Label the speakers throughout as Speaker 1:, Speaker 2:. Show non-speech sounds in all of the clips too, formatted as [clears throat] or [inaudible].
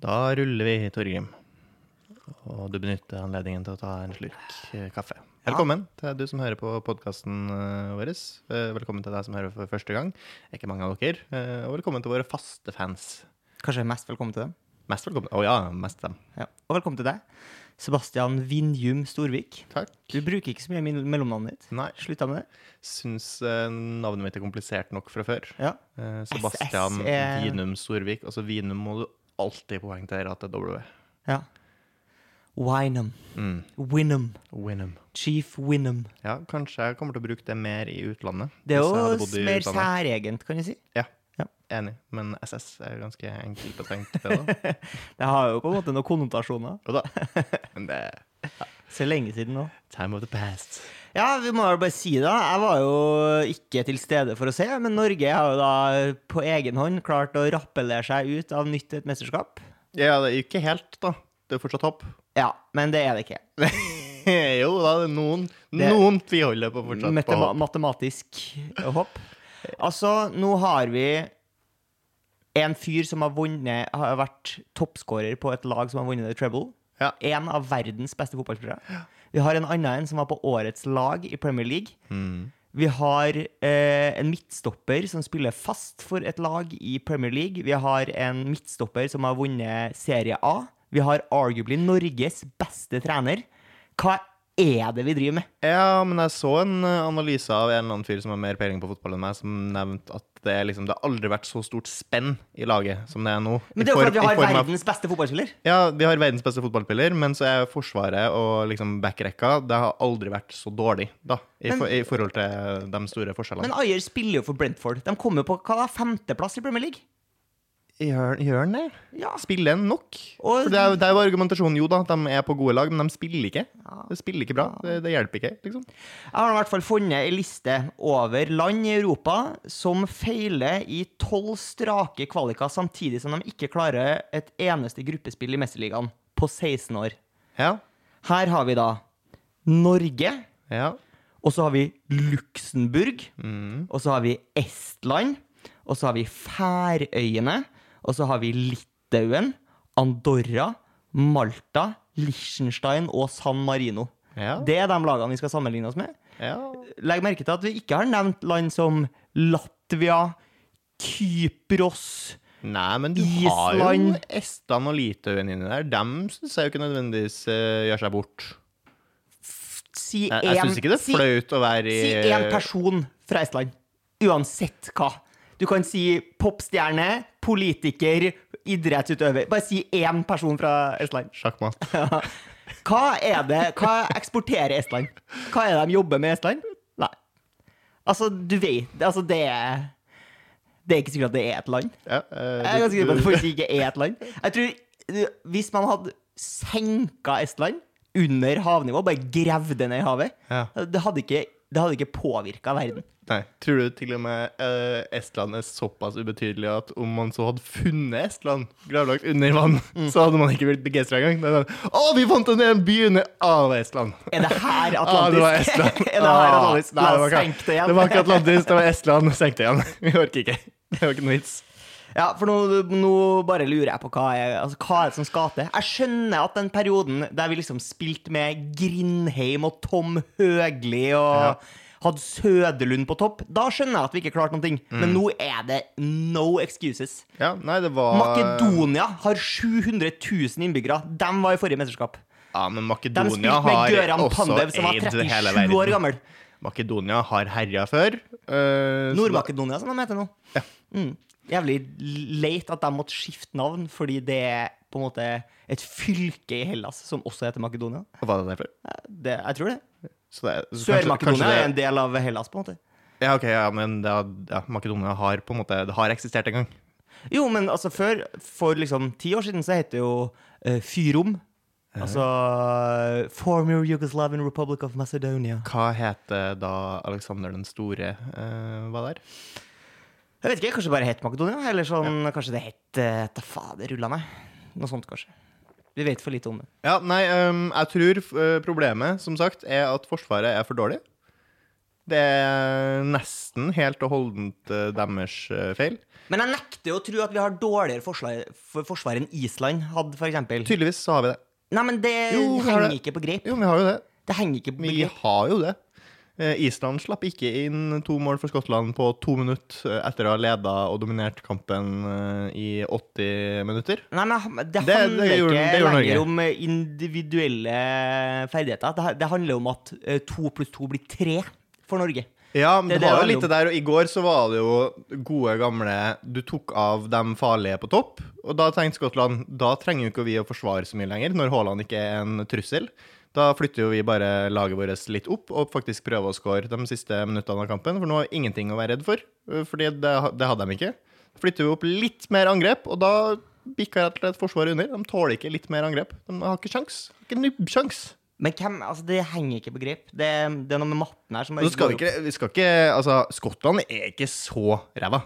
Speaker 1: Da ruller vi, Torgrim. Og du benytter anledningen til å ta en slurk eh, kaffe.
Speaker 2: Ja.
Speaker 1: Velkommen til du som hører på podkasten vår. Eh, Velkommen til deg som hører for første gang. Ikke mange av dere. Eh, Og velkommen til våre faste fans.
Speaker 2: Kanskje mest velkommen til dem.
Speaker 1: Mest velkommen. Å ja, mest dem.
Speaker 2: Ja. Og velkommen til deg, Sebastian Vinjum Storvik.
Speaker 1: Takk.
Speaker 2: Du bruker ikke så mye min- mellomnavnet ditt.
Speaker 1: Nei,
Speaker 2: Slutta med det.
Speaker 1: syns eh, navnet mitt er komplisert nok fra før.
Speaker 2: Ja.
Speaker 1: Eh,
Speaker 2: E
Speaker 1: Sebastian
Speaker 2: SS er-
Speaker 1: Vinum Storvik. Altså Vinum må du alltid poengtere at det er W.
Speaker 2: ja. Winum.
Speaker 1: Mm.
Speaker 2: Winum.
Speaker 1: Winum.
Speaker 2: Chief Winum.
Speaker 1: Ja, kanskje jeg kommer til å bruke det mer i utlandet.
Speaker 2: Det er
Speaker 1: hvis jeg hadde
Speaker 2: jo
Speaker 1: bodd i
Speaker 2: mer
Speaker 1: utlandet.
Speaker 2: særegent, kan jeg si.
Speaker 1: Enig, men SS er jo ganske enkelt å tenke på. [laughs] da.
Speaker 2: Det har jo på en måte noen konnotasjoner.
Speaker 1: Jo da. Men det er
Speaker 2: Så lenge siden nå.
Speaker 1: time of the past.
Speaker 2: Ja, vi må vel bare si det. da. Jeg var jo ikke til stede for å se, men Norge har jo da på egen hånd klart å rappellere seg ut av nytt et mesterskap.
Speaker 1: Ja, det er ikke helt, da. Det er fortsatt [laughs] hopp.
Speaker 2: Ja, men det er det ikke.
Speaker 1: jo da, det er noen,
Speaker 2: Det-
Speaker 1: noen tviholder på fortsatt. på
Speaker 2: Matema
Speaker 1: hopp.
Speaker 2: matematisk hopp. Altså, nå har vi en fyr som har vunnet Har vært toppskårer på et lag som har vunnet The Treble.
Speaker 1: Ja.
Speaker 2: En av verdens beste fotballspillere. Vi har en annen en som var på årets lag i Premier League.
Speaker 1: Mm.
Speaker 2: Vi har eh, en midtstopper som spiller fast for et lag i Premier League. Vi har en midtstopper som har vunnet Serie A. Vi har arguably Norges beste trener. Hva er det vi driver med?
Speaker 1: Ja, men jeg så en eh, analyse av en eller annen fyr som har mer peiling på fotball enn meg, som nevnte at det, er liksom, det har aldri vært så stort spenn i laget som det er nå.
Speaker 2: Men
Speaker 1: I
Speaker 2: det er jo
Speaker 1: form-
Speaker 2: fordi vi
Speaker 1: i
Speaker 2: har
Speaker 1: form av-
Speaker 2: verdens beste fotballspiller.
Speaker 1: Ja, vi har verdens beste fotballspiller, men så er forsvaret og liksom backrekka Det har aldri vært så dårlig, da, i,
Speaker 2: Men-
Speaker 1: for, i forhold til de store forskjellene.
Speaker 2: Men Ayer spiller jo for Brentford. De kommer på hva da, femteplass i Premier League.
Speaker 1: Gjør, gjør han det?
Speaker 2: Ja.
Speaker 1: Spiller han nok?
Speaker 2: Og-
Speaker 1: For det, er, jo- det er jo argumentasjonen. Jo da, de er på gode lag, men de spiller ikke.
Speaker 2: Ja.
Speaker 1: De spiller ikke bra. Det, det hjelper ikke, liksom.
Speaker 2: Jeg har i hvert fall funnet ei liste over land i Europa som feiler i tolv strake kvaliker, samtidig som de ikke klarer et eneste gruppespill i Mesterligaen på 16 år.
Speaker 1: Ja.
Speaker 2: Her har vi da Norge,
Speaker 1: Ja.
Speaker 2: og så har vi Luxembourg,
Speaker 1: Mm.
Speaker 2: og så har vi Estland, og så har vi Færøyene, og så har vi Litauen, Andorra, Malta, Liechtenstein og San Marino.
Speaker 1: Ja.
Speaker 2: Det er de lagene vi skal sammenligne oss med.
Speaker 1: ja.
Speaker 2: Legg merke til at vi ikke har nevnt land som Latvia, Kypros
Speaker 1: Nei, men du har jo
Speaker 2: Island.
Speaker 1: Estland og Litauen inni der. Dem syns jeg jo ikke nødvendigvis eh, gjør seg bort.
Speaker 2: Si
Speaker 1: Jeg, jeg
Speaker 2: en-
Speaker 1: syns ikke det er
Speaker 2: si-
Speaker 1: flaut å være i
Speaker 2: Si én person fra Estland. Uansett hva. Du kan si popstjerne, politiker, idrettsutøver. Bare si én person fra Estland.
Speaker 1: sjakkmatt.
Speaker 2: Hva er det Hva eksporterer Estland? Hva er det de jobber med i Estland? Nei. Altså, du vet Altså, det er Det er ikke sikkert at det er et land.
Speaker 1: Ja, eh,
Speaker 2: Jeg er
Speaker 1: du-
Speaker 2: ganske sikker på at
Speaker 1: du-
Speaker 2: det faktisk ikke er et land. Jeg tror eh, Hvis man hadde senka Estland under havnivå, bare gravd det ned i havet,
Speaker 1: Ja.
Speaker 2: det hadde ikke, det hadde ikke påvirka verden.
Speaker 1: Nei. Tror du til og med eh, Estland er såpass ubetydelig at om man så hadde funnet Estland gravlagt under [laughs] vann, så hadde man ikke blitt begeistra engang? Det er sånn, Å, vi fant en en by under Av Estland!
Speaker 2: Er det her
Speaker 1: Ah, det var
Speaker 2: Atlantisk?
Speaker 1: Estland. [laughs]
Speaker 2: [laughs] er det her
Speaker 1: Ah,
Speaker 2: Atlantisk?
Speaker 1: nei,
Speaker 2: La
Speaker 1: det var
Speaker 2: oss
Speaker 1: ikke-
Speaker 2: senke det igjen.
Speaker 1: Det var ikke Atlantis, det var Estland. Senk det igjen. [laughs] Vi orker ikke. Det var ikke noe vits.
Speaker 2: [laughs] Ja, for nå, nå bare lurer jeg på hva er, altså, hva er det som skal til. Jeg skjønner at den perioden der vi liksom spilte med Grindheim og Tom Høgli og
Speaker 1: Ja.
Speaker 2: hadde Søderlund på topp, da skjønner jeg at vi ikke klarte noen ting.
Speaker 1: Mm.
Speaker 2: Men nå er det no excuses.
Speaker 1: Ah, Ja, nei, det var
Speaker 2: Makedonia har 700 000 innbyggere. De var i forrige mesterskap.
Speaker 1: Ja, men
Speaker 2: De
Speaker 1: Makedonia
Speaker 2: spilte med
Speaker 1: har
Speaker 2: Gøran
Speaker 1: også
Speaker 2: Pandev, som var
Speaker 1: eid hele
Speaker 2: 37 år
Speaker 1: verden.
Speaker 2: gammel.
Speaker 1: Makedonia har herja før. eh, så da-
Speaker 2: Nord-Makedonia, som de heter nå. Mm. Jævlig leit at de måtte skifte navn, fordi det er på en måte et fylke i Hellas som også heter Makedonia.
Speaker 1: Var det derfor?
Speaker 2: Det, jeg tror det.
Speaker 1: Så det er- så kanskje- kanskje
Speaker 2: Sør-Makedonia
Speaker 1: det-
Speaker 2: er en del av Hellas, på en måte.
Speaker 1: Ja, ok, ja, men det, har- ja, Makedonia har på en måte Det har eksistert en gang.
Speaker 2: Jo, men altså før, for liksom ti år siden, så het det jo eh, Fyrom. Altså Former Yugoslavian Republic of Macedonia.
Speaker 1: Hva heter da Alexander den store eh, var der?
Speaker 2: Jeg vet ikke, kanskje det bare het Makedonia? Eller sånn, kanskje det het eh, Ta fader, rulla meg. Noe sånt, kanskje. Vi vet for lite om det.
Speaker 1: Ja, nei, ehm, jeg tror eh, problemet, som sagt, er at Forsvaret er for dårlig. Det er nesten helt og holdent eh, deres eh, feil.
Speaker 2: Men jeg nekter jo å tro at vi har dårligere forsvar, for forsvar enn Island hadde, f.eks.
Speaker 1: Tydeligvis så har vi det.
Speaker 2: Nei, men det
Speaker 1: Jo, vi har
Speaker 2: henger
Speaker 1: det.
Speaker 2: ikke på grep.
Speaker 1: Jo, vi har jo det.
Speaker 2: Det henger ikke på
Speaker 1: Vi
Speaker 2: grep.
Speaker 1: har jo det. Eh, Island slapp ikke inn to mål for Skottland på to minutter eh, etter å ha leda og dominert kampen eh, i 80 minutter.
Speaker 2: Nei, men det
Speaker 1: det gjorde-
Speaker 2: handler ikke
Speaker 1: det gjorde Norge.
Speaker 2: lenger om eh, individuelle ferdigheter. Det, det handler om at eh, to pluss to blir tre for Norge.
Speaker 1: Ja, men
Speaker 2: Det
Speaker 1: det,
Speaker 2: er det
Speaker 1: har jo
Speaker 2: det
Speaker 1: litt det der, og i går så var det jo gode gamle Du tok av de farlige på topp, og da tenkte Skottland da trenger jo ikke vi å forsvare så mye lenger, når Haaland ikke er en trussel. Da flytter jo vi bare laget vårt litt opp og faktisk prøver å score de siste minuttene av kampen, for nå har ingenting å være redd for, eh, fordi det, det hadde de ikke. Flytter vi opp litt mer angrep, og da bikker rett og slett forsvaret under. De tåler ikke litt mer angrep. De har ikke sjans. Ikke nubbsjans.
Speaker 2: Men hvem, altså det henger ikke på grep. Det, det er noe med matten her som
Speaker 1: Nå skal vi
Speaker 2: går
Speaker 1: ikke, vi skal ikke Altså, Skottland er ikke så ræva.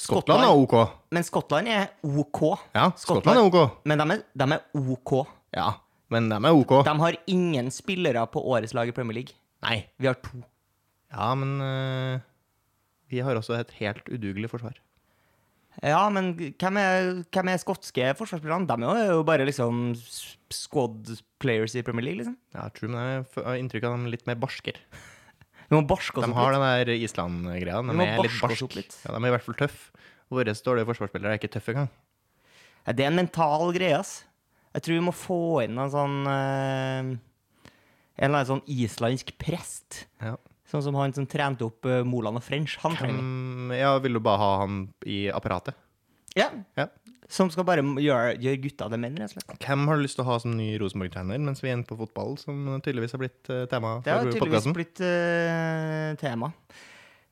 Speaker 1: Skottland
Speaker 2: Skottland-
Speaker 1: er OK.
Speaker 2: opp. Men Skottland er OK.
Speaker 1: Ja, Skottland er OK.
Speaker 2: Men de er, de er OK.
Speaker 1: Ja, men de er OK.
Speaker 2: De har ingen spillere på årets lag i Premier League.
Speaker 1: Nei.
Speaker 2: Vi har to.
Speaker 1: Ja, men øh, vi har også et helt udugelig forsvar.
Speaker 2: Ja, men hvem er, hvem er skotske forsvarsspillerne? De er jo bare liksom s- squad players i Premier League, liksom.
Speaker 1: Ja, jeg tror jeg f- har inntrykk av dem litt mer barsker.
Speaker 2: Vi må barske oss
Speaker 1: De
Speaker 2: opp
Speaker 1: har
Speaker 2: litt.
Speaker 1: den der Island-greia.
Speaker 2: Vi
Speaker 1: De
Speaker 2: må
Speaker 1: er litt
Speaker 2: barske oss opp
Speaker 1: barske.
Speaker 2: litt.
Speaker 1: Ja, de er i hvert fall tøffe. Våre dårlige forsvarsspillere er ikke tøffe engang.
Speaker 2: Ja, Det er en mental greie, ass. Jeg tror vi må få inn en sånn eh, En eller annen sånn islandsk prest.
Speaker 1: Ja.
Speaker 2: Sånn som han som trente opp eh, Moland og French. Han trenger vi.
Speaker 1: Mm, ja, vil du bare ha han i apparatet?
Speaker 2: Ja.
Speaker 1: Ja.
Speaker 2: Som skal bare gjøre, gjøre gutta til menn, rett og slett.
Speaker 1: Hvem har du lyst til å ha som ny Rosenborg-trener mens vi er inne på fotball, som tydeligvis har blitt eh, tema
Speaker 2: Det har
Speaker 1: for
Speaker 2: tydeligvis
Speaker 1: podkasten?
Speaker 2: blitt eh, tema.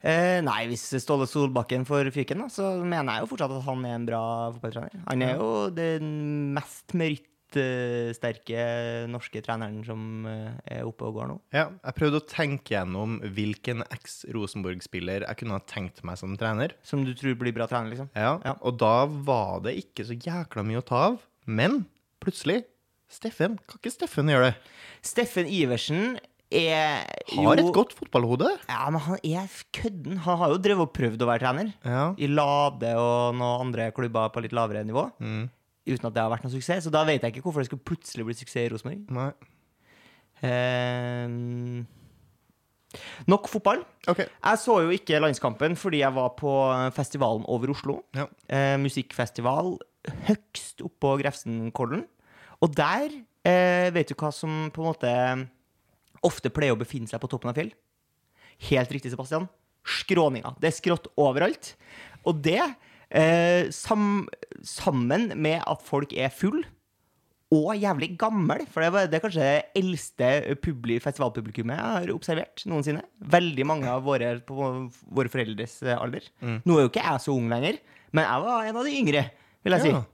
Speaker 2: Eh, nei, hvis Ståle Solbakken får fyken, da, så mener jeg jo fortsatt at han er en bra fotballtrener. Han er jo den mest merittsterke norske treneren som eh, er oppe og går nå.
Speaker 1: Ja, jeg prøvde å tenke gjennom hvilken eks-Rosenborg-spiller jeg kunne ha tenkt meg som trener.
Speaker 2: Som du tror blir bra trener, liksom.
Speaker 1: Ja,
Speaker 2: Ja.
Speaker 1: Og da var det ikke så jækla mye å ta av. Men plutselig Steffen, kan ikke Steffen gjøre det?
Speaker 2: Steffen Iversen er jo
Speaker 1: Har et godt fotballhode.
Speaker 2: Ja, men han er kødden. Han har jo drevet og prøvd å være trener.
Speaker 1: Ja.
Speaker 2: I Lade og noen andre klubber på litt lavere nivå.
Speaker 1: Mm,
Speaker 2: Uten at det har vært noen suksess. Så da vet jeg ikke hvorfor det skulle plutselig bli suksess i Rosenborg.
Speaker 1: Nei.
Speaker 2: Ehm, nok fotball.
Speaker 1: OK.
Speaker 2: Jeg så jo ikke landskampen fordi jeg var på festivalen over Oslo.
Speaker 1: Ja.
Speaker 2: Eh, musikkfestival høgst oppå Grefsenkollen. Og der, eh, vet du hva som på en måte ofte pleier å befinne seg på toppen av fjell? Helt riktig, Sebastian. Skråninga. Det er skrått overalt. Og det, eh, sam, sammen med at folk er full og jævlig gammel, for det, var, det er kanskje det eldste publi, festivalpublikummet jeg har observert noensinne. Veldig mange av våre på våre foreldres eh, alder.
Speaker 1: Mm.
Speaker 2: Nå er jo ikke jeg så ung lenger, men jeg var en av de yngre, vil jeg
Speaker 1: Ja.
Speaker 2: si.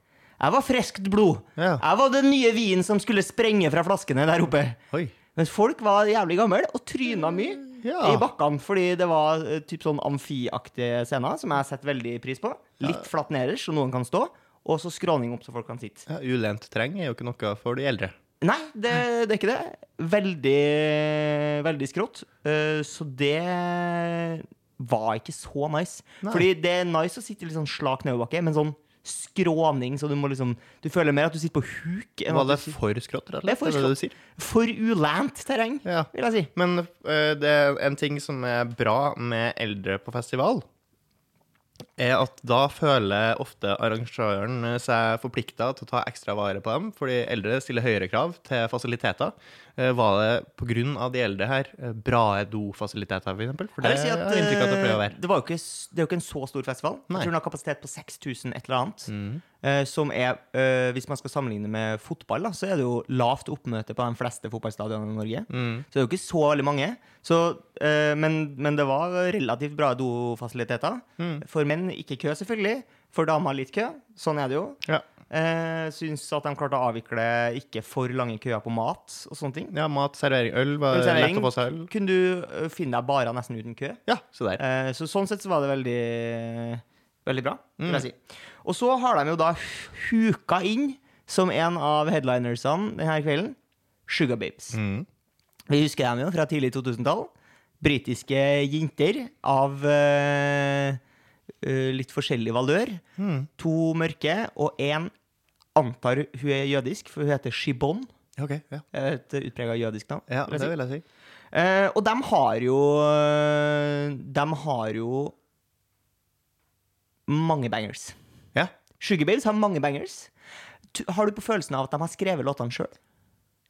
Speaker 2: Jeg var friskt blod.
Speaker 1: Ja.
Speaker 2: Jeg var den nye vinen som skulle sprenge fra flaskene der oppe.
Speaker 1: Oi.
Speaker 2: Mens folk var jævlig gamle og tryna mye
Speaker 1: Ja.
Speaker 2: i bakkene fordi det var eh, typ sånn amfiaktige scener som jeg setter veldig pris på. Litt flatt nederst, så noen kan stå, og så skråning opp så folk kan sitte.
Speaker 1: Ja, ulent terreng er jo ikke noe for de eldre.
Speaker 2: Nei, det,
Speaker 1: [laughs]
Speaker 2: det er ikke det. Veldig, veldig skrått. Eh, Så det var ikke så nice.
Speaker 1: Nei.
Speaker 2: Fordi det er nice å sitte i litt sånn slak nedoverbakke, men sånn skråning, så du må liksom Du føler mer at du sitter på huk. enn
Speaker 1: Var
Speaker 2: at
Speaker 1: det
Speaker 2: du sit-
Speaker 1: for skrått, rett og
Speaker 2: Det er
Speaker 1: slett?
Speaker 2: for
Speaker 1: er det du sier?
Speaker 2: For ulant terreng,
Speaker 1: Ja.
Speaker 2: vil jeg si.
Speaker 1: Men eh, det er en ting som er bra med eldre på festival, er at da føler ofte arrangøren eh, seg forplikta til å ta ekstra vare på dem, fordi eldre stiller høyere krav til fasiliteter. Eh, Var det pga. de eldre her eh, bra dofasiliteter, f.eks.? For
Speaker 2: Jeg
Speaker 1: det
Speaker 2: vil si at,
Speaker 1: har jeg inntrykk av at det pleier å
Speaker 2: eh,
Speaker 1: være.
Speaker 2: det, var jo ikke, s- det er jo ikke en så stor festival.
Speaker 1: Nei. Mm.
Speaker 2: Jeg tror den har kapasitet på 6000 et eller annet. eh, som er, eh, hvis man skal sammenligne med fotball, da, så er det jo lavt oppmøte på de fleste fotballstadionene i Norge.
Speaker 1: Mm.
Speaker 2: Så det er jo ikke så veldig mange. Så, eh, men, men det var relativt bra dofasiliteter.
Speaker 1: Mm.
Speaker 2: For menn ikke kø, selvfølgelig. For damer litt kø. Sånn er det jo.
Speaker 1: Ja.
Speaker 2: Eh, syns at de klarte å avvikle ikke for lange køer på mat og sånne ting.
Speaker 1: ja, mat, servering, øl. Var det
Speaker 2: Servering.
Speaker 1: lett å få seg øl?
Speaker 2: Kunne du eh, finne deg barer nesten uten kø?
Speaker 1: Ja, så der.
Speaker 2: Eh, Så sånn sett så var det veldig Mm. Veldig bra, vil jeg si. Og så har de jo da huka inn, som en av headlinersene denne kvelden, Sugar Babes.
Speaker 1: Mm.
Speaker 2: Vi husker dem jo fra tidlig 2000-tall. britiske jenter av eh, eh, litt forskjellig valør. To mørke, og én antar hun er jødisk, for hun heter Shibon. Eh,
Speaker 1: Ok, ja.
Speaker 2: Et utprega jødisk navn.
Speaker 1: ja
Speaker 2: vil
Speaker 1: det
Speaker 2: jeg si.
Speaker 1: vil jeg si.
Speaker 2: Eh, og de har jo De har jo mange bangers.
Speaker 1: Ja.
Speaker 2: Sugar Babes har mange bangers. Tu- Har du på følelsen av at de har skrevet låtene sjøl?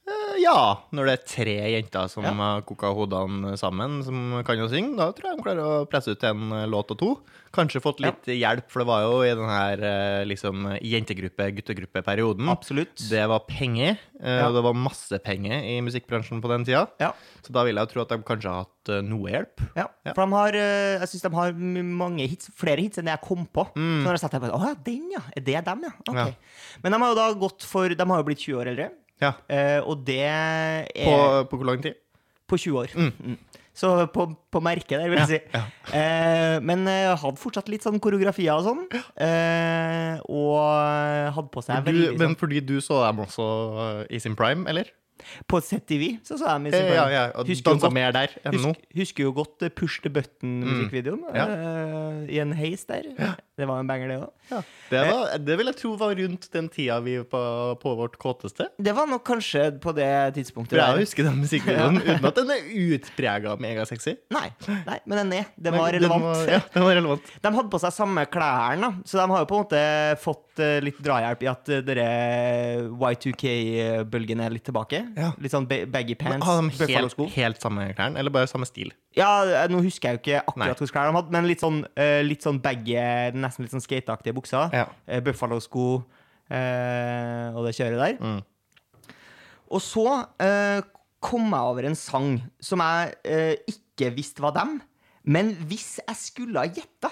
Speaker 1: Eh, Ja, når det er tre jenter som
Speaker 2: Ja.
Speaker 1: har koka hodene sammen, som kan jo synge, da tror jeg de klarer å presse ut en eh, låt og to. Kanskje fått litt hjelp, for det var jo i den her eh, liksom, jentegruppe-guttegruppe-perioden.
Speaker 2: Absolutt.
Speaker 1: Det var penger, eh,
Speaker 2: Ja.
Speaker 1: og det var masse penger i musikkbransjen på den tida.
Speaker 2: Ja.
Speaker 1: Så da vil jeg jo tro at de kanskje har hatt eh, noe hjelp.
Speaker 2: Ja,
Speaker 1: Ja.
Speaker 2: for de har, eh, jeg syns de har m- mange hits, flere hits enn det jeg kom på. Så når jeg satt her, bare, Å ja, den, ja. Er det dem, ja? Ok.
Speaker 1: Ja.
Speaker 2: Men de har jo da gått for De har jo blitt 20 år eldre,
Speaker 1: Ja.
Speaker 2: eh, og det er
Speaker 1: På,
Speaker 2: Eh,
Speaker 1: på hvor lang tid?
Speaker 2: på 20 år. Mm. Så på, på merket der, vil jeg si. Eh, men eh, hadde fortsatt litt sånn koreografier og sånn. Eh, og eh, hadde på seg
Speaker 1: Du,
Speaker 2: veldig
Speaker 1: men
Speaker 2: sånn
Speaker 1: fordi du så dem også eh, i sin prime, eller?
Speaker 2: sånn- På ZTV så så jeg
Speaker 1: Eh, Ja, ja, og
Speaker 2: Husker jo
Speaker 1: dansa
Speaker 2: godt-
Speaker 1: mer der enn nå. Mm,
Speaker 2: Husk, husker jo godt eh, Push the Button-musikkvideoen.
Speaker 1: Ja.
Speaker 2: eh, I en heis der. Det var en banger, det òg.
Speaker 1: Det, var, det vil jeg tro var rundt den tida vi var på vårt kåteste.
Speaker 2: Det var nok kanskje på det tidspunktet.
Speaker 1: For
Speaker 2: der.
Speaker 1: jeg husker den musikkvideoen uten at den er utprega megasexy.
Speaker 2: Nei, nei, men den er. Den
Speaker 1: Men
Speaker 2: var
Speaker 1: Den
Speaker 2: relevant.
Speaker 1: var, ja, den var [laughs] relevant.
Speaker 2: De hadde på seg samme klærne, da. så de har jo på en måte fått eh, litt drahjelp i at eh, dere Y2K-bølgen er litt tilbake.
Speaker 1: Ja.
Speaker 2: Litt sånn ba- baggy pants,
Speaker 1: Har de helt,
Speaker 2: buffalo-sko.
Speaker 1: helt samme klærne, eller bare samme stil?
Speaker 2: Ja, eh, nå husker jeg jo ikke
Speaker 1: Nei.
Speaker 2: akkurat hvilke klær de hadde, men litt sånn, eh, litt sånn baggy, nesten litt sånn skateaktige bukser.
Speaker 1: Ja.
Speaker 2: eh, Buffalo-sko eh, og det kjøret der.
Speaker 1: Mm.
Speaker 2: Og så eh, kom jeg over en sang som jeg eh, ikke visste var dem. Men hvis jeg skulle ha gjetta,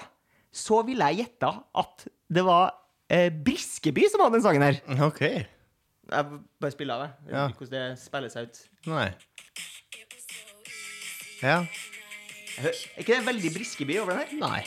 Speaker 2: så ville jeg gjetta at det var eh, Briskeby som hadde den sangen her.
Speaker 1: OK.
Speaker 2: Jeg bare spiller av, jeg.
Speaker 1: Ja.
Speaker 2: Hvordan det spiller seg ut.
Speaker 1: Nei. Ja.
Speaker 2: Hø- Er ikke det veldig Briskeby over den her?
Speaker 1: Nei.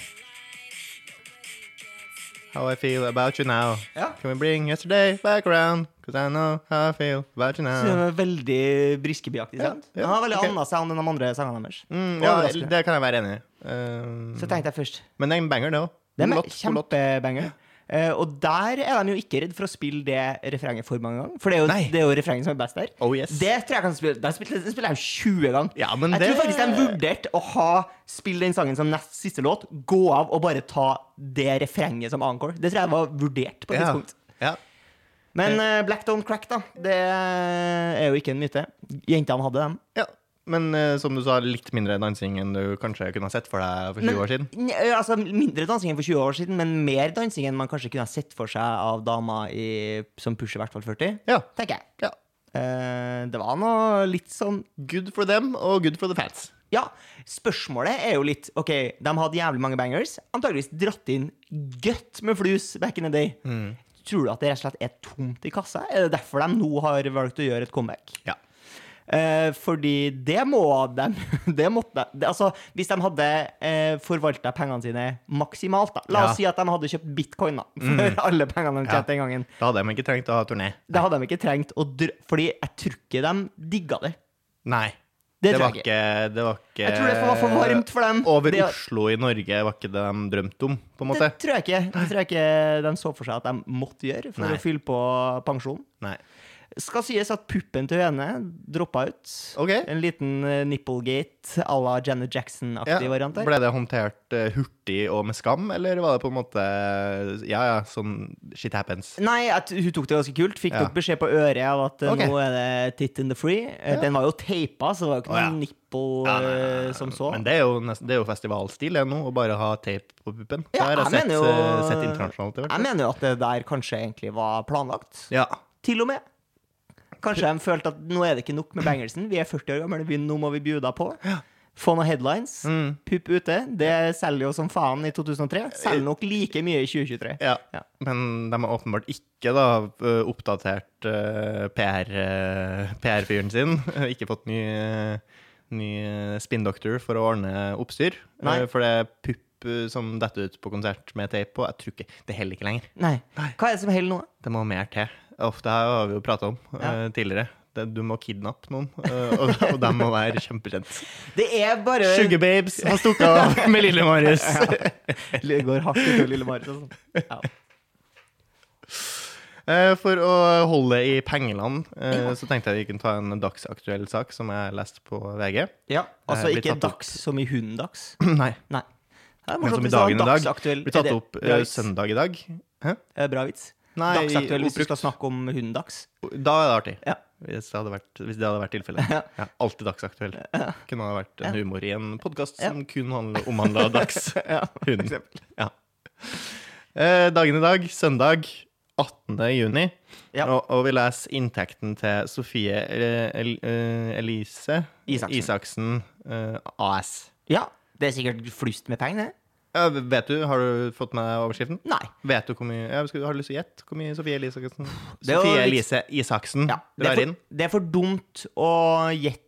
Speaker 1: How I feel about you now.
Speaker 2: Ja.
Speaker 1: Can we bring yesterday back around? Cause I know how I feel about you
Speaker 2: Så den
Speaker 1: now.
Speaker 2: var veldig Briskeby-aktig,
Speaker 1: Ja,
Speaker 2: sant?
Speaker 1: ja,
Speaker 2: Den har veldig
Speaker 1: ok.
Speaker 2: annet seg enn de andre sangene deres.
Speaker 1: Mm,
Speaker 2: Og
Speaker 1: ja,
Speaker 2: overraskende.
Speaker 1: det kan jeg være enig i. Um,
Speaker 2: Så tenkte jeg først
Speaker 1: men det er en banger, det òg.
Speaker 2: Det er kjempebanger. Eh, og der er de jo ikke redd for å spille det refrenget for mange ganger. For det er jo,
Speaker 1: Nei.
Speaker 2: det er jo refrenget som er best der.
Speaker 1: Oh, yes.
Speaker 2: Det tror jeg kan spille Den spiller, den spiller jeg jo 20 ganger.
Speaker 1: Ja, men
Speaker 2: jeg
Speaker 1: det-
Speaker 2: tror faktisk de vurderte å ha spille den sangen som nest siste låt, gå av og bare ta det refrenget som encore. Det tror jeg var vurdert på et
Speaker 1: Ja.
Speaker 2: tidspunkt.
Speaker 1: Ja.
Speaker 2: Men eh, Black Don't Crack, da, det er jo ikke en myte. Jentene hadde dem.
Speaker 1: Ja, men eh, som du sa, litt mindre dansing enn du kanskje kunne ha sett for deg for 20 år siden.
Speaker 2: Nj, altså, mindre dansing enn for 20 år siden, men mer dansing enn man kanskje kunne ha sett for seg av damer i, som pusher i hvert fall 40.
Speaker 1: Ja.
Speaker 2: Tenker jeg.
Speaker 1: ja.
Speaker 2: Eh, det var noe litt sånn
Speaker 1: Good for them og good for the fans.
Speaker 2: Ja, spørsmålet er jo litt OK, de hadde jævlig mange bangers. Antageligvis dratt inn godt med flus back in the day.
Speaker 1: Mm.
Speaker 2: Tror du at det rett og slett er tomt i kassa? Er det derfor de nå har valgt å gjøre et comeback?
Speaker 1: Ja.
Speaker 2: Eh, fordi det må de [laughs] det måtte, de- det, altså, Hvis de hadde eh, forvalta pengene sine maksimalt, da. La
Speaker 1: Ja. Mm.
Speaker 2: oss si at de hadde kjøpt bitcoin da, for [laughs] alle pengene de
Speaker 1: Ja.
Speaker 2: tjente den gangen.
Speaker 1: Da hadde de ikke trengt å ha turné.
Speaker 2: Det hadde de ikke trengt å dr... Fordi jeg tror ikke de digga det.
Speaker 1: Nei.
Speaker 2: Det
Speaker 1: Det,
Speaker 2: tror
Speaker 1: var
Speaker 2: jeg ikke.
Speaker 1: ikke, det var ikke
Speaker 2: Jeg tror det var for varmt for dem.
Speaker 1: Over
Speaker 2: Det-
Speaker 1: Oslo i Norge var ikke det de drømte om, på en måte.
Speaker 2: Det tror jeg ikke. Det tror jeg ikke de så for seg at de måtte gjøre for
Speaker 1: Nei.
Speaker 2: å fylle på pensjonen.
Speaker 1: Nei.
Speaker 2: Skal sies at puppen til høne droppa ut.
Speaker 1: OK.
Speaker 2: En liten eh, nipplegate à la Janet
Speaker 1: Ja.
Speaker 2: Jackson-aktig variant der.
Speaker 1: Ble det håndtert eh, hurtig og med skam, eller var det på en måte Ja, ja, sånn shit happens.
Speaker 2: Nei, at hun tok det ganske kult. Fikk
Speaker 1: Ja.
Speaker 2: nok beskjed på øret av at eh,
Speaker 1: Ok.
Speaker 2: nå er det tit in the free. Eh, Den var jo teipa, så det var jo ikke
Speaker 1: Å, ja.
Speaker 2: noen nipple
Speaker 1: Ja, nei, nei,
Speaker 2: eh, som så.
Speaker 1: Men det er jo, nesten, det er jo festivalstil det nå, å bare ha tape på puppen. Det har
Speaker 2: Ja,
Speaker 1: jeg,
Speaker 2: jeg
Speaker 1: sett,
Speaker 2: mener jo-
Speaker 1: eh, sett internasjonalt. i hvert fall.
Speaker 2: Jeg mener jo at det der kanskje egentlig var planlagt.
Speaker 1: Ja.
Speaker 2: Til og med. Kanskje de følte at nå er det ikke nok med bangersen. Vi er 40 år gamle, vi, nå må vi bjuda på. Få noen headlines.
Speaker 1: Mm.
Speaker 2: Pupp ute. Det selger jo som faen i 2003. Selger nok like mye i 2023.
Speaker 1: Ja.
Speaker 2: Ja.
Speaker 1: Men de har åpenbart ikke da ø, oppdatert eh, ø, PR, ø, PR-fyren eh, sin. [laughs] Ikke fått ny, ø, ny spinndoktor for å ordne oppstyr.
Speaker 2: Nei.
Speaker 1: Ø, For det er pupp ø, som detter ut på konsert med tape på. Jeg tror ikke det holder ikke lenger.
Speaker 2: Nei. Hva er det som holder nå?
Speaker 1: Det må mer til. Ofte har vi jo prata om ø,
Speaker 2: Ja.
Speaker 1: tidligere. det, du må kidnappe noen, eh, og, og de må være kjempekjent.
Speaker 2: [laughs] Det er bare
Speaker 1: Sugarbabes har stukket av med
Speaker 2: [laughs]
Speaker 1: Lille-Marius.
Speaker 2: Det går hardt utover lille Marit. Altså. Ja.
Speaker 1: Eh, For å holde i pengeland, eh, så tenkte jeg vi kunne ta en dagsaktuell sak som jeg leste på VG.
Speaker 2: [clears throat] ja, altså
Speaker 1: Eh, blir
Speaker 2: ikke
Speaker 1: tatt opp.
Speaker 2: dags som i hunden dags.
Speaker 1: Nei.
Speaker 2: Nei. Det er
Speaker 1: Men
Speaker 2: morsomt
Speaker 1: som i
Speaker 2: hvis det var
Speaker 1: dagen i dag.
Speaker 2: dagsaktuell-
Speaker 1: Blir tatt
Speaker 2: er det
Speaker 1: opp
Speaker 2: bra
Speaker 1: eh,
Speaker 2: vits?
Speaker 1: søndag i dag. Hæ?
Speaker 2: Eh, Bra vits.
Speaker 1: Nei,
Speaker 2: Dagsaktuell hvis du
Speaker 1: oppbrukt.
Speaker 2: skal snakke om hunden dags.
Speaker 1: Da er det artig.
Speaker 2: Ja.
Speaker 1: Hvis det hadde vært, hvis det hadde vært tilfellet.
Speaker 2: Ja.
Speaker 1: Ja, alltid dagsaktuell. Kunne ha vært en humor i en podkast
Speaker 2: Ja.
Speaker 1: som kun handler- omhandla dags.
Speaker 2: [laughs] Ja,
Speaker 1: Hunden. Ja. Eh, dagen i dag, søndag 18. juni,
Speaker 2: Ja.
Speaker 1: og, og vi leser inntekten til Sofie eh, El, eh, Elise
Speaker 2: Isaksen.
Speaker 1: eh, AS.
Speaker 2: Ja, det er sikkert flust med penger, det.
Speaker 1: Ja, vet du, Har du fått med overskriften?
Speaker 2: Nei.
Speaker 1: Vet du hvor mye, ja, skal, Har du lyst til å gjette hvor mye Sofie Elise Isaksen,
Speaker 2: Det er jo
Speaker 1: Sofie
Speaker 2: litt-
Speaker 1: Elise Isaksen
Speaker 2: Ja, det, er
Speaker 1: drar
Speaker 2: for,
Speaker 1: inn?
Speaker 2: det er for dumt å gjette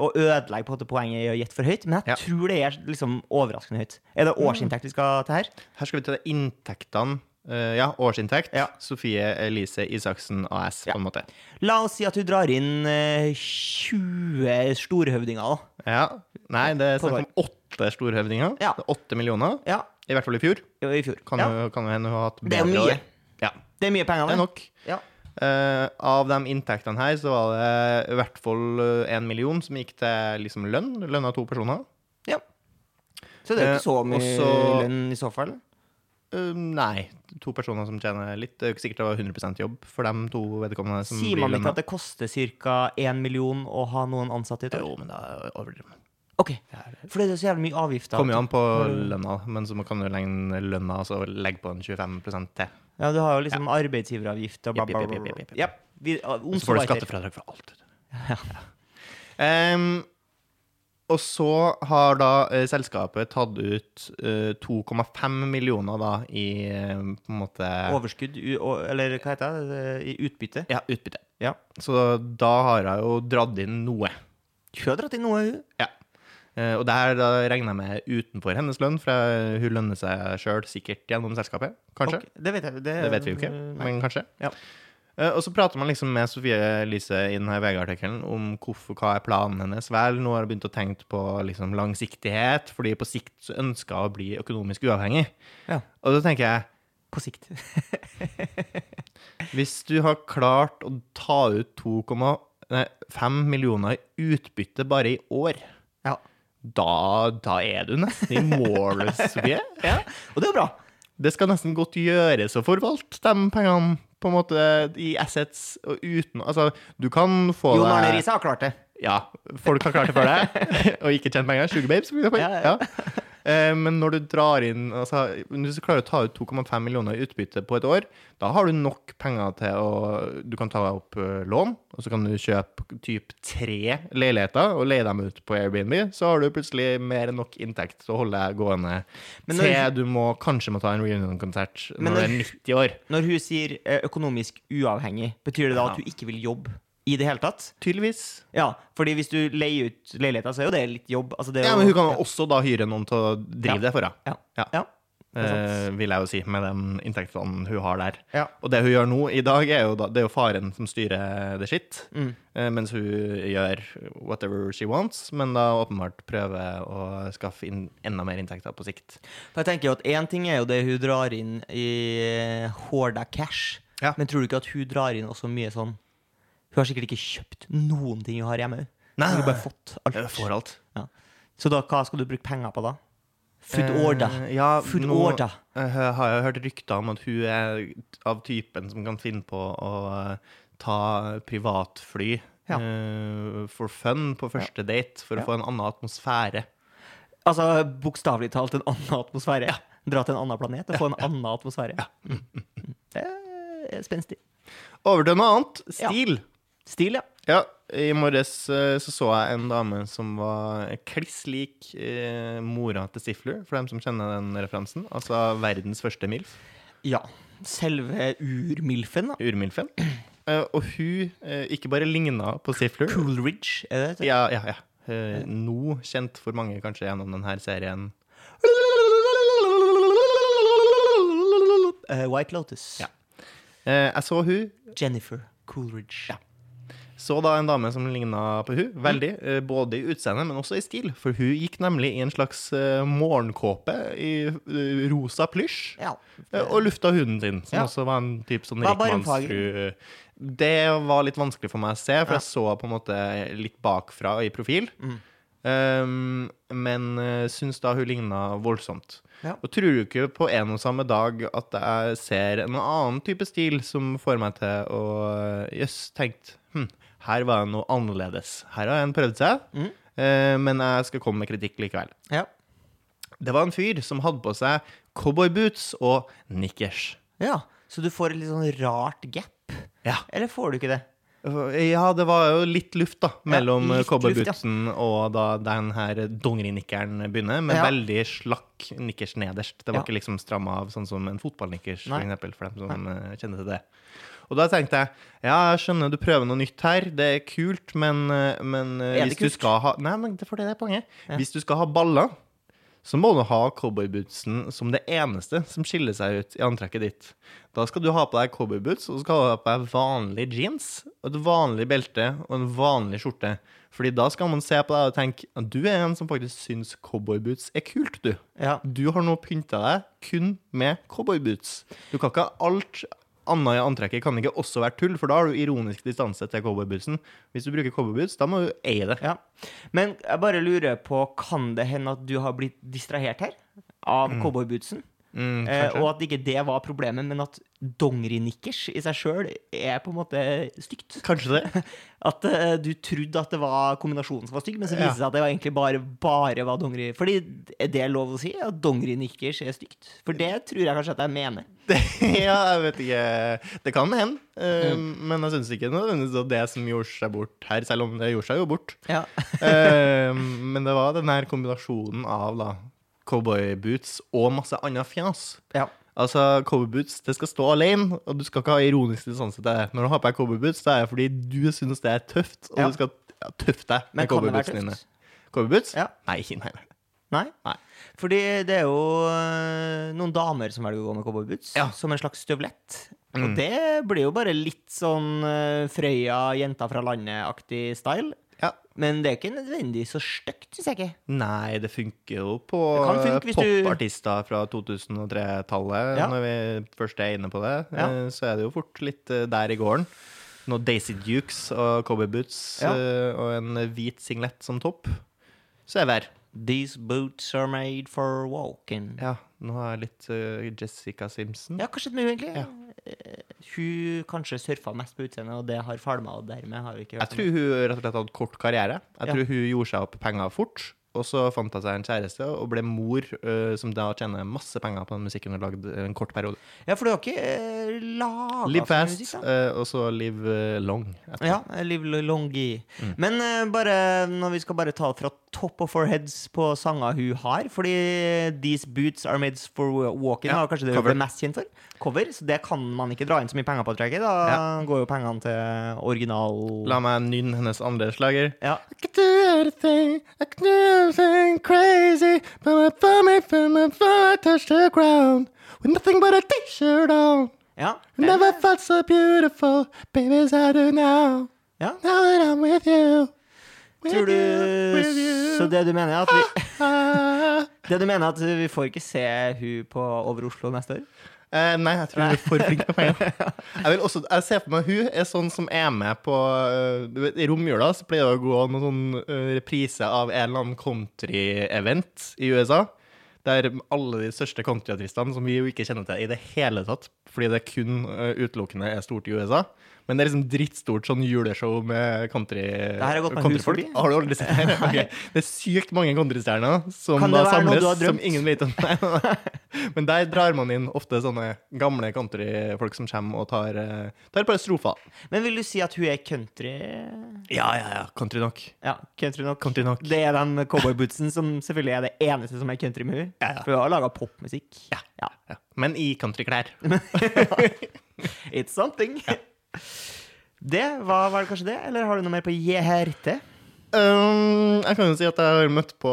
Speaker 2: Å ødelegge på en måte poenget i å gjette for høyt, men jeg
Speaker 1: Ja.
Speaker 2: tror det er liksom overraskende høyt. Er det årsinntekt vi skal til her?
Speaker 1: Her skal vi ta inntektene. eh, ja, årsinntekt.
Speaker 2: Ja.
Speaker 1: Sofie Elise Isaksen AS, på en måte.
Speaker 2: La oss si at du drar inn eh, 20 storhøvdinger, da.
Speaker 1: Ja. Nei, det er
Speaker 2: På
Speaker 1: snakk om åtte storhøvdinger.
Speaker 2: Ja.
Speaker 1: Det er Åtte millioner.
Speaker 2: Ja,
Speaker 1: I hvert fall i fjor.
Speaker 2: jo, i fjor.
Speaker 1: Kan,
Speaker 2: ja,
Speaker 1: jo, kan jo hende hun har hatt
Speaker 2: Det er jo
Speaker 1: bedre
Speaker 2: mye.
Speaker 1: år. Ja,
Speaker 2: det er mye penger,
Speaker 1: det er nok.
Speaker 2: Ja.
Speaker 1: Eh, av de inntektene her så var det i hvert fall én million som gikk til liksom lønn. Lønn av to personer.
Speaker 2: ja. Så det er jo
Speaker 1: Eh,
Speaker 2: ikke så mye
Speaker 1: også-
Speaker 2: lønn i så fall.
Speaker 1: Eh, nei, to personer som tjener litt. Det er jo ikke sikkert det var 100 jobb for de to vedkommende. som
Speaker 2: Sier
Speaker 1: blir
Speaker 2: man
Speaker 1: lønnet.
Speaker 2: ikke at det koster ca. 1 million å ha noen ansatte i et år?
Speaker 1: Jo, men da overdriver man.
Speaker 2: Ok, For det er så jævlig mye avgifter.
Speaker 1: Kommer jo an på lønna, men så kan du legge lønna og så legge på en 25 til.
Speaker 2: Ja, du har jo liksom arbeidsgiveravgift og bla,
Speaker 1: Jepp,
Speaker 2: bla,
Speaker 1: jepp,
Speaker 2: bla.
Speaker 1: jepp,
Speaker 2: bla.
Speaker 1: jepp, jepp.
Speaker 2: Ja, vi, om
Speaker 1: Så får du
Speaker 2: så etter.
Speaker 1: skattefradrag for alt. [laughs] Ehm, og så har da eh, selskapet tatt ut eh, 2,5 millioner da i eh, på en måte
Speaker 2: Overskudd, u, og, eller hva heter det, eh, i utbytte.
Speaker 1: ja, utbytte.
Speaker 2: Ja.
Speaker 1: Så da har jeg jo dratt inn noe.
Speaker 2: Hun har dratt inn noe, hun.
Speaker 1: Ja. Eh, og det her da regner jeg med utenfor hennes lønn, for jeg- hun lønner seg sjøl sikkert gjennom selskapet. Kanskje.
Speaker 2: Ok, det vet jeg. Det,
Speaker 1: Det vet vi jo ikke,
Speaker 2: Eh, Nei.
Speaker 1: men kanskje.
Speaker 2: Ja.
Speaker 1: Eh, Og så prater man liksom med Sofie Elise i denne VG-artikkelen om hvorfor, hva er planen hennes. Vel, nå har jeg begynt å tenke på liksom, langsiktighet, fordi på sikt så ønsker jeg å bli økonomisk uavhengig.
Speaker 2: Ja,
Speaker 1: Og da tenker jeg,
Speaker 2: på sikt. [laughs]
Speaker 1: hvis du har klart å ta ut 2,5 millioner i utbytte bare i år,
Speaker 2: Ja.
Speaker 1: da, da er du nesten i mål, Sofie.
Speaker 2: [laughs] ja. Og det er jo bra.
Speaker 1: Det skal nesten godt gjøres å forvalte de pengene på en måte i assets og uten Altså, du kan få
Speaker 2: Jon Arne
Speaker 1: deg-
Speaker 2: Riise har klart det.
Speaker 1: Ja, folk har klart det før deg, og ikke tjent penger. Sugar babes, for eksempel.
Speaker 2: Ja,
Speaker 1: Ja. Eh, Men når du drar inn altså, Hvis du klarer å ta ut 2,5 millioner i utbytte på et år, da har du nok penger til å Du kan ta opp eh, lån, og så kan du kjøpe typ tre leiligheter og leie dem ut på Airbnb. Så har du plutselig mer enn nok inntekt til å holde deg gående
Speaker 2: Men
Speaker 1: til
Speaker 2: når-
Speaker 1: du må, kanskje må ta en reunion-konsert
Speaker 2: Men
Speaker 1: når du er 90 år.
Speaker 2: Når hun sier eh, økonomisk uavhengig, betyr det da at hun ikke vil jobbe i det hele tatt?
Speaker 1: Tydeligvis.
Speaker 2: Ja, fordi hvis du leier ut leiligheten, så er jo det litt jobb. Altså, det er
Speaker 1: Ja,
Speaker 2: jo-
Speaker 1: men hun kan også da hyre noen til å drive det for henne.
Speaker 2: Ja.
Speaker 1: Ja.
Speaker 2: ja. Det er sant.
Speaker 1: eh, vil jeg jo si, med de inntektene hun har der.
Speaker 2: Ja.
Speaker 1: Og det hun gjør nå i dag, er jo, da, det er jo faren som styrer det sitt,
Speaker 2: Mm.
Speaker 1: eh, mens hun gjør whatever she wants, men da åpenbart prøver å skaffe inn enda mer inntekter på sikt.
Speaker 2: For jeg tenker jo at Én ting er jo det hun drar inn i eh, horda cash,
Speaker 1: Ja.
Speaker 2: men tror du ikke at hun drar inn også mye sånn Hun har sikkert ikke kjøpt noen ting hun har hjemme. Hun
Speaker 1: Nei.
Speaker 2: har bare fått alt.
Speaker 1: Jeg får alt.
Speaker 2: Så da, hva skal du bruke penger på, da? Food
Speaker 1: Eh,
Speaker 2: order.
Speaker 1: ja,
Speaker 2: Food
Speaker 1: nå
Speaker 2: order.
Speaker 1: eh, har jeg hørt rykter om at hun er av typen som kan finne på å eh, ta privatfly
Speaker 2: Ja.
Speaker 1: eh, for fun på første date, for
Speaker 2: Ja.
Speaker 1: å få en annen atmosfære.
Speaker 2: Altså bokstavelig talt en annen atmosfære. Dra til en annen planet og få en annen atmosfære. Det er spenstig.
Speaker 1: Over til noe annet.
Speaker 2: Ja.
Speaker 1: Stil.
Speaker 2: Stil, ja.
Speaker 1: Ja, i morges eh, så så jeg en dame som var kliss lik eh, mora til Stifler, for dem som kjenner den referansen. Altså verdens første MILF,
Speaker 2: Ja. Selve urmilfen, da.
Speaker 1: urmilfen. Eh, og hun eh, ikke bare ligna på Stifler.
Speaker 2: Coolridge, er det det?
Speaker 1: Ja, ja, ja. Eh, nå kjent for mange kanskje gjennom denne serien.
Speaker 2: Eh, White Lotus.
Speaker 1: Ja. Eh, jeg så hun
Speaker 2: Jennifer Coolridge.
Speaker 1: Så da en dame som ligna på hun, veldig, eh, både i utseende, men også i stil. For hun gikk nemlig i en slags eh, morgenkåpe i eh, rosa plysj.
Speaker 2: Ja.
Speaker 1: eh, Og lufta huden sin, som
Speaker 2: Ja.
Speaker 1: også var en type sånn
Speaker 2: Hva er barmfager?
Speaker 1: rikmannsfru. Det var litt vanskelig for meg å se, for jeg så på en måte litt bakfra i profil.
Speaker 2: Mm.
Speaker 1: Um, men uh, syns da hun ligna voldsomt.
Speaker 2: Ja.
Speaker 1: Og tror jo ikke på en og samme dag at jeg ser en annen type stil som får meg til å øh, Jøss, tenkt hm, her var det noe annerledes. Her har en prøvd seg,
Speaker 2: Mm.
Speaker 1: eh, men jeg skal komme med kritikk likevel.
Speaker 2: Ja.
Speaker 1: Det var en fyr som hadde på seg cowboyboots og nikkers.
Speaker 2: ja. Så du får et litt sånn rart gap?
Speaker 1: Ja.
Speaker 2: Eller får du ikke det?
Speaker 1: ja, det var jo litt luft da mellom
Speaker 2: litt luft, ja.
Speaker 1: cowboybootsen og da den her dongerinikkeren begynner, men
Speaker 2: Ja.
Speaker 1: veldig slakk nikkers nederst. Det var
Speaker 2: Ja.
Speaker 1: ikke liksom stramma av sånn som en fotballnikkers,
Speaker 2: Nei.
Speaker 1: for eksempel, for dem som eh, kjenner til det. Og da tenkte jeg ja, jeg skjønner du prøver noe nytt her, det er kult, men, eh, men eh,
Speaker 2: Er det
Speaker 1: hvis du
Speaker 2: kult?
Speaker 1: skal ha Nei, men det er for det det er poenget. Hvis du skal ha baller, så må du ha cowboybootsen som det eneste som skiller seg ut i antrekket ditt. Da skal du ha på deg cowboyboots, og så skal du ha på deg vanlige jeans, og et vanlig belte og en vanlig skjorte. Fordi da skal man se på deg og tenke at du er en som faktisk syns cowboyboots er kult, du.
Speaker 2: Ja.
Speaker 1: Du har nå pynta deg kun med cowboyboots. Du kan ikke ha alt annet i antrekket kan ikke også være tull, for da har du ironisk distanse til cowboybootsen. Hvis du bruker cowboyboots, da må du eie det.
Speaker 2: ja. Men jeg bare lurer på, kan det hende at du har blitt distrahert her? Av cowboybootsen?
Speaker 1: Mm,
Speaker 2: Eh,
Speaker 1: kanskje.
Speaker 2: og at ikke det var problemet, men at dongerinikkers i seg sjøl er på en måte stygt. [laughs]
Speaker 1: kanskje det. [laughs]
Speaker 2: At eh, du trodde at det var kombinasjonen som var stygg, men så
Speaker 1: Ja.
Speaker 2: viste det seg at det var egentlig bare, bare var dongeri. Fordi er det lov å si at dongerinikkers er stygt? For det tror jeg kanskje at jeg mener.
Speaker 1: Det, ja, jeg vet ikke. Det kan hende. eh, Men jeg syns ikke nødvendigvis det var det som gjorde seg bort her, selv om det gjorde seg jo bort.
Speaker 2: Ja.
Speaker 1: [laughs] Eh, men det var den her kombinasjonen av da cowboyboots og masse annet fjas.
Speaker 2: ja.
Speaker 1: Altså, cowboyboots det skal stå alene, og du skal ikke ha ironisk distanse til sånn det. Når du har på deg cowboyboots, det er fordi du syns det er tøft, og
Speaker 2: Ja.
Speaker 1: du skal ja, tøffe deg med
Speaker 2: Men kan det være
Speaker 1: cowboybootsen dine.
Speaker 2: tøft?
Speaker 1: Cowboyboots?
Speaker 2: Ja.
Speaker 1: Nei, nei, nei.
Speaker 2: Nei?
Speaker 1: Nei.
Speaker 2: Fordi det er jo eh, noen damer som velger å gå med cowboyboots,
Speaker 1: Ja. Mm.
Speaker 2: som en slags støvlett. Og det blir jo bare litt sånn eh, Frøya, jenta fra landet-aktig style.
Speaker 1: Ja.
Speaker 2: Men det er ikke nødvendigvis så stygt, syns jeg ikke.
Speaker 1: Nei, det funker jo på
Speaker 2: Det kan funke hvis du-
Speaker 1: popartister fra 2003-tallet.
Speaker 2: Ja.
Speaker 1: Når vi først er inne på det,
Speaker 2: Ja.
Speaker 1: eh, så er det jo fort litt eh, der i gården. Noe Daisy Dukes og cowboyboots
Speaker 2: Ja.
Speaker 1: eh, og en hvit singlet som topp, så er vi her.
Speaker 2: These boots are made for walking.
Speaker 1: Ja, nå har jeg litt eh, Jessica Simpson.
Speaker 2: Ja, kanskje det er egentlig.
Speaker 1: Ja.
Speaker 2: Eh, Hun kanskje surfa mest på utseendet, og det har falma, og dermed har vi ikke
Speaker 1: Jeg
Speaker 2: hørt
Speaker 1: tror hun rett og slett hadde kort karriere. Jeg
Speaker 2: Ja.
Speaker 1: tror hun gjorde seg opp penger fort. Og så fant hun seg en kjæreste og ble mor, eh, som da tjener masse penger på den musikken hun lagde en kort periode.
Speaker 2: Ja, for du har ikke eh, laga
Speaker 1: Live fast,
Speaker 2: musikk, da?
Speaker 1: eh, og så live eh, long. etterpå.
Speaker 2: Ja, Live Longi.
Speaker 1: Mm.
Speaker 2: Men eh, bare når vi skal bare ta fra top of our heads på sanger hun har Fordi These Boots Are Made For Walking
Speaker 1: Ja,
Speaker 2: var kanskje det hun
Speaker 1: cover.
Speaker 2: ble mest kjent for. Cover. Så det kan man ikke dra inn så mye penger på, tror jeg ikke. Da går jo pengene til original
Speaker 1: La meg nynne hennes andre slager.
Speaker 2: Ja.
Speaker 1: I can do everything, I can do everything crazy, but my bummy, but my bummy touched the ground with nothing but a t-shirt on.
Speaker 2: ja.
Speaker 1: Never felt so beautiful, baby, as I do now.
Speaker 2: Ja.
Speaker 1: Now that I'm with you. With
Speaker 2: Tror
Speaker 1: you,
Speaker 2: du
Speaker 1: with you.
Speaker 2: Så det du mener er at vi [laughs]
Speaker 1: Ah.
Speaker 2: Det du mener er at vi får ikke se hun på Over Oslo neste år?
Speaker 1: Eh, nei, jeg tror hun er for flink med
Speaker 2: [laughs]
Speaker 1: penger. Jeg vil også, jeg ser for meg hun er sånn som er med på eh, du vet, I romjula så pleier det å gå noen sånn eh, reprise av en eller annen country-event i USA. Der alle de største countryartistene, som vi jo ikke kjenner til i det hele tatt, fordi det kun eh, utelukkende er stort i USA Men det er liksom drittstort sånn juleshow med country
Speaker 2: her har gått meg hus
Speaker 1: countryfolk.
Speaker 2: forbi.
Speaker 1: Har du aldri sett
Speaker 2: [laughs]
Speaker 1: det? her? Ok. Det er sykt mange countrystjerner som
Speaker 2: Kan det
Speaker 1: da
Speaker 2: være noe du
Speaker 1: samles,
Speaker 2: har drømt?
Speaker 1: som ingen vet om. [laughs] Nei, nei, nei. Men der drar man inn ofte sånne gamle countryfolk som kommer og tar, eh, tar et par strofer.
Speaker 2: Men vil du si at hun er country?
Speaker 1: Ja, ja, ja. Country nok.
Speaker 2: Ja, country nok.
Speaker 1: Country nok.
Speaker 2: Det er den cowboybootsen som selvfølgelig er det eneste som er country med henne.
Speaker 1: Ja, ja.
Speaker 2: For hun har laga popmusikk.
Speaker 1: Ja. Ja. Men i
Speaker 2: [laughs]
Speaker 1: countryklær.
Speaker 2: It's something. [laughs] Det var, var det kanskje det, eller har du noe mer på Jeherte?
Speaker 1: Um, jeg kan jo si at jeg har møtt på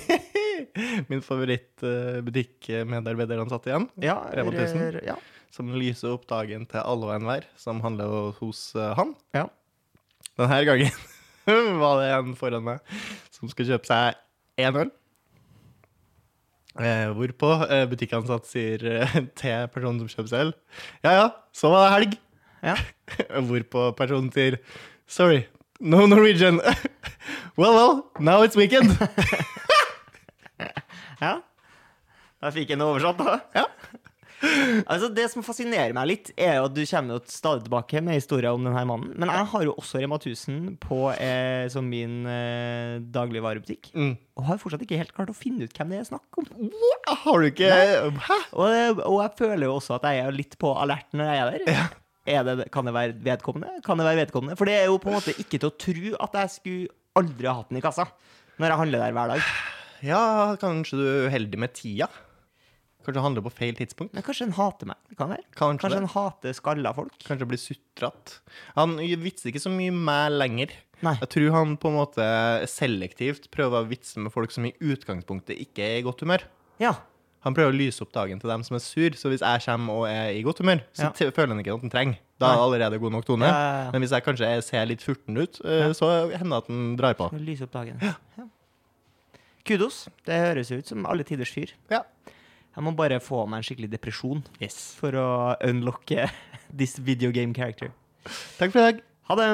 Speaker 1: [laughs] min favorittbutikkmedarbeideransatt igjen.
Speaker 2: Ja,
Speaker 1: Rema 1000.
Speaker 2: Ja.
Speaker 1: Som lyser opp dagen til alle og enhver som handler hos eh, han.
Speaker 2: ja.
Speaker 1: Denne gangen [laughs] var det en foran meg som skulle kjøpe seg én øl. Eh, hvorpå eh, butikkansatt sier eh, [laughs] til personen som kjøper seg øl, ja ja, så var det helg. [laughs]
Speaker 2: Ja.
Speaker 1: Hvorpå personen sier sorry, no Norwegian. [laughs] well, well, now it's weekend.
Speaker 2: ja. Da fikk jeg den oversatt, da.
Speaker 1: Ja.
Speaker 2: [laughs] Altså, det som fascinerer meg litt, er jo at du kommer jo stadig tilbake med historier om denne mannen. Men jeg har jo også Rema 1000 på, eh, som min eh, dagligvarebutikk.
Speaker 1: Mm.
Speaker 2: Og har fortsatt ikke helt klart å finne ut hvem det er snakk om.
Speaker 1: What? Har du ikke Hæ?
Speaker 2: Og, og jeg føler jo også at jeg er litt på alert når jeg er der. Er det, kan det være vedkommende? Kan det være vedkommende? For det er jo på en måte ikke til å tro at jeg skulle aldri ha hatt den i kassa når jeg handler der hver dag.
Speaker 1: Ja, kanskje du er uheldig med tida? Kanskje du handler på feil tidspunkt?
Speaker 2: Men kanskje den hater meg. Det Kan være.
Speaker 1: Kanskje
Speaker 2: kanskje
Speaker 1: det.
Speaker 2: den hater skalla folk.
Speaker 1: Kanskje blir sutrete. Han vitser ikke så mye med lenger.
Speaker 2: Nei.
Speaker 1: Jeg tror han på en måte selektivt prøver å vitse med folk som i utgangspunktet ikke er i godt humør.
Speaker 2: Ja.
Speaker 1: Han prøver å lyse opp dagen til dem som er sur, så hvis jeg kommer og er i godt humør, så
Speaker 2: Ja.
Speaker 1: t- føler han ikke at han trenger. Da er det allerede god nok tone.
Speaker 2: Ja, ja, ja.
Speaker 1: Men hvis jeg kanskje ser litt furten ut, eh, så hender det at han drar på.
Speaker 2: Nå lyser opp dagen. Ja. Kudos. Det høres ut som alle tiders fyr.
Speaker 1: Ja.
Speaker 2: Jeg må bare få meg en skikkelig depresjon
Speaker 1: Yes.
Speaker 2: for å [laughs] unlocke this video game character.
Speaker 1: Takk for i dag.
Speaker 2: Ha det!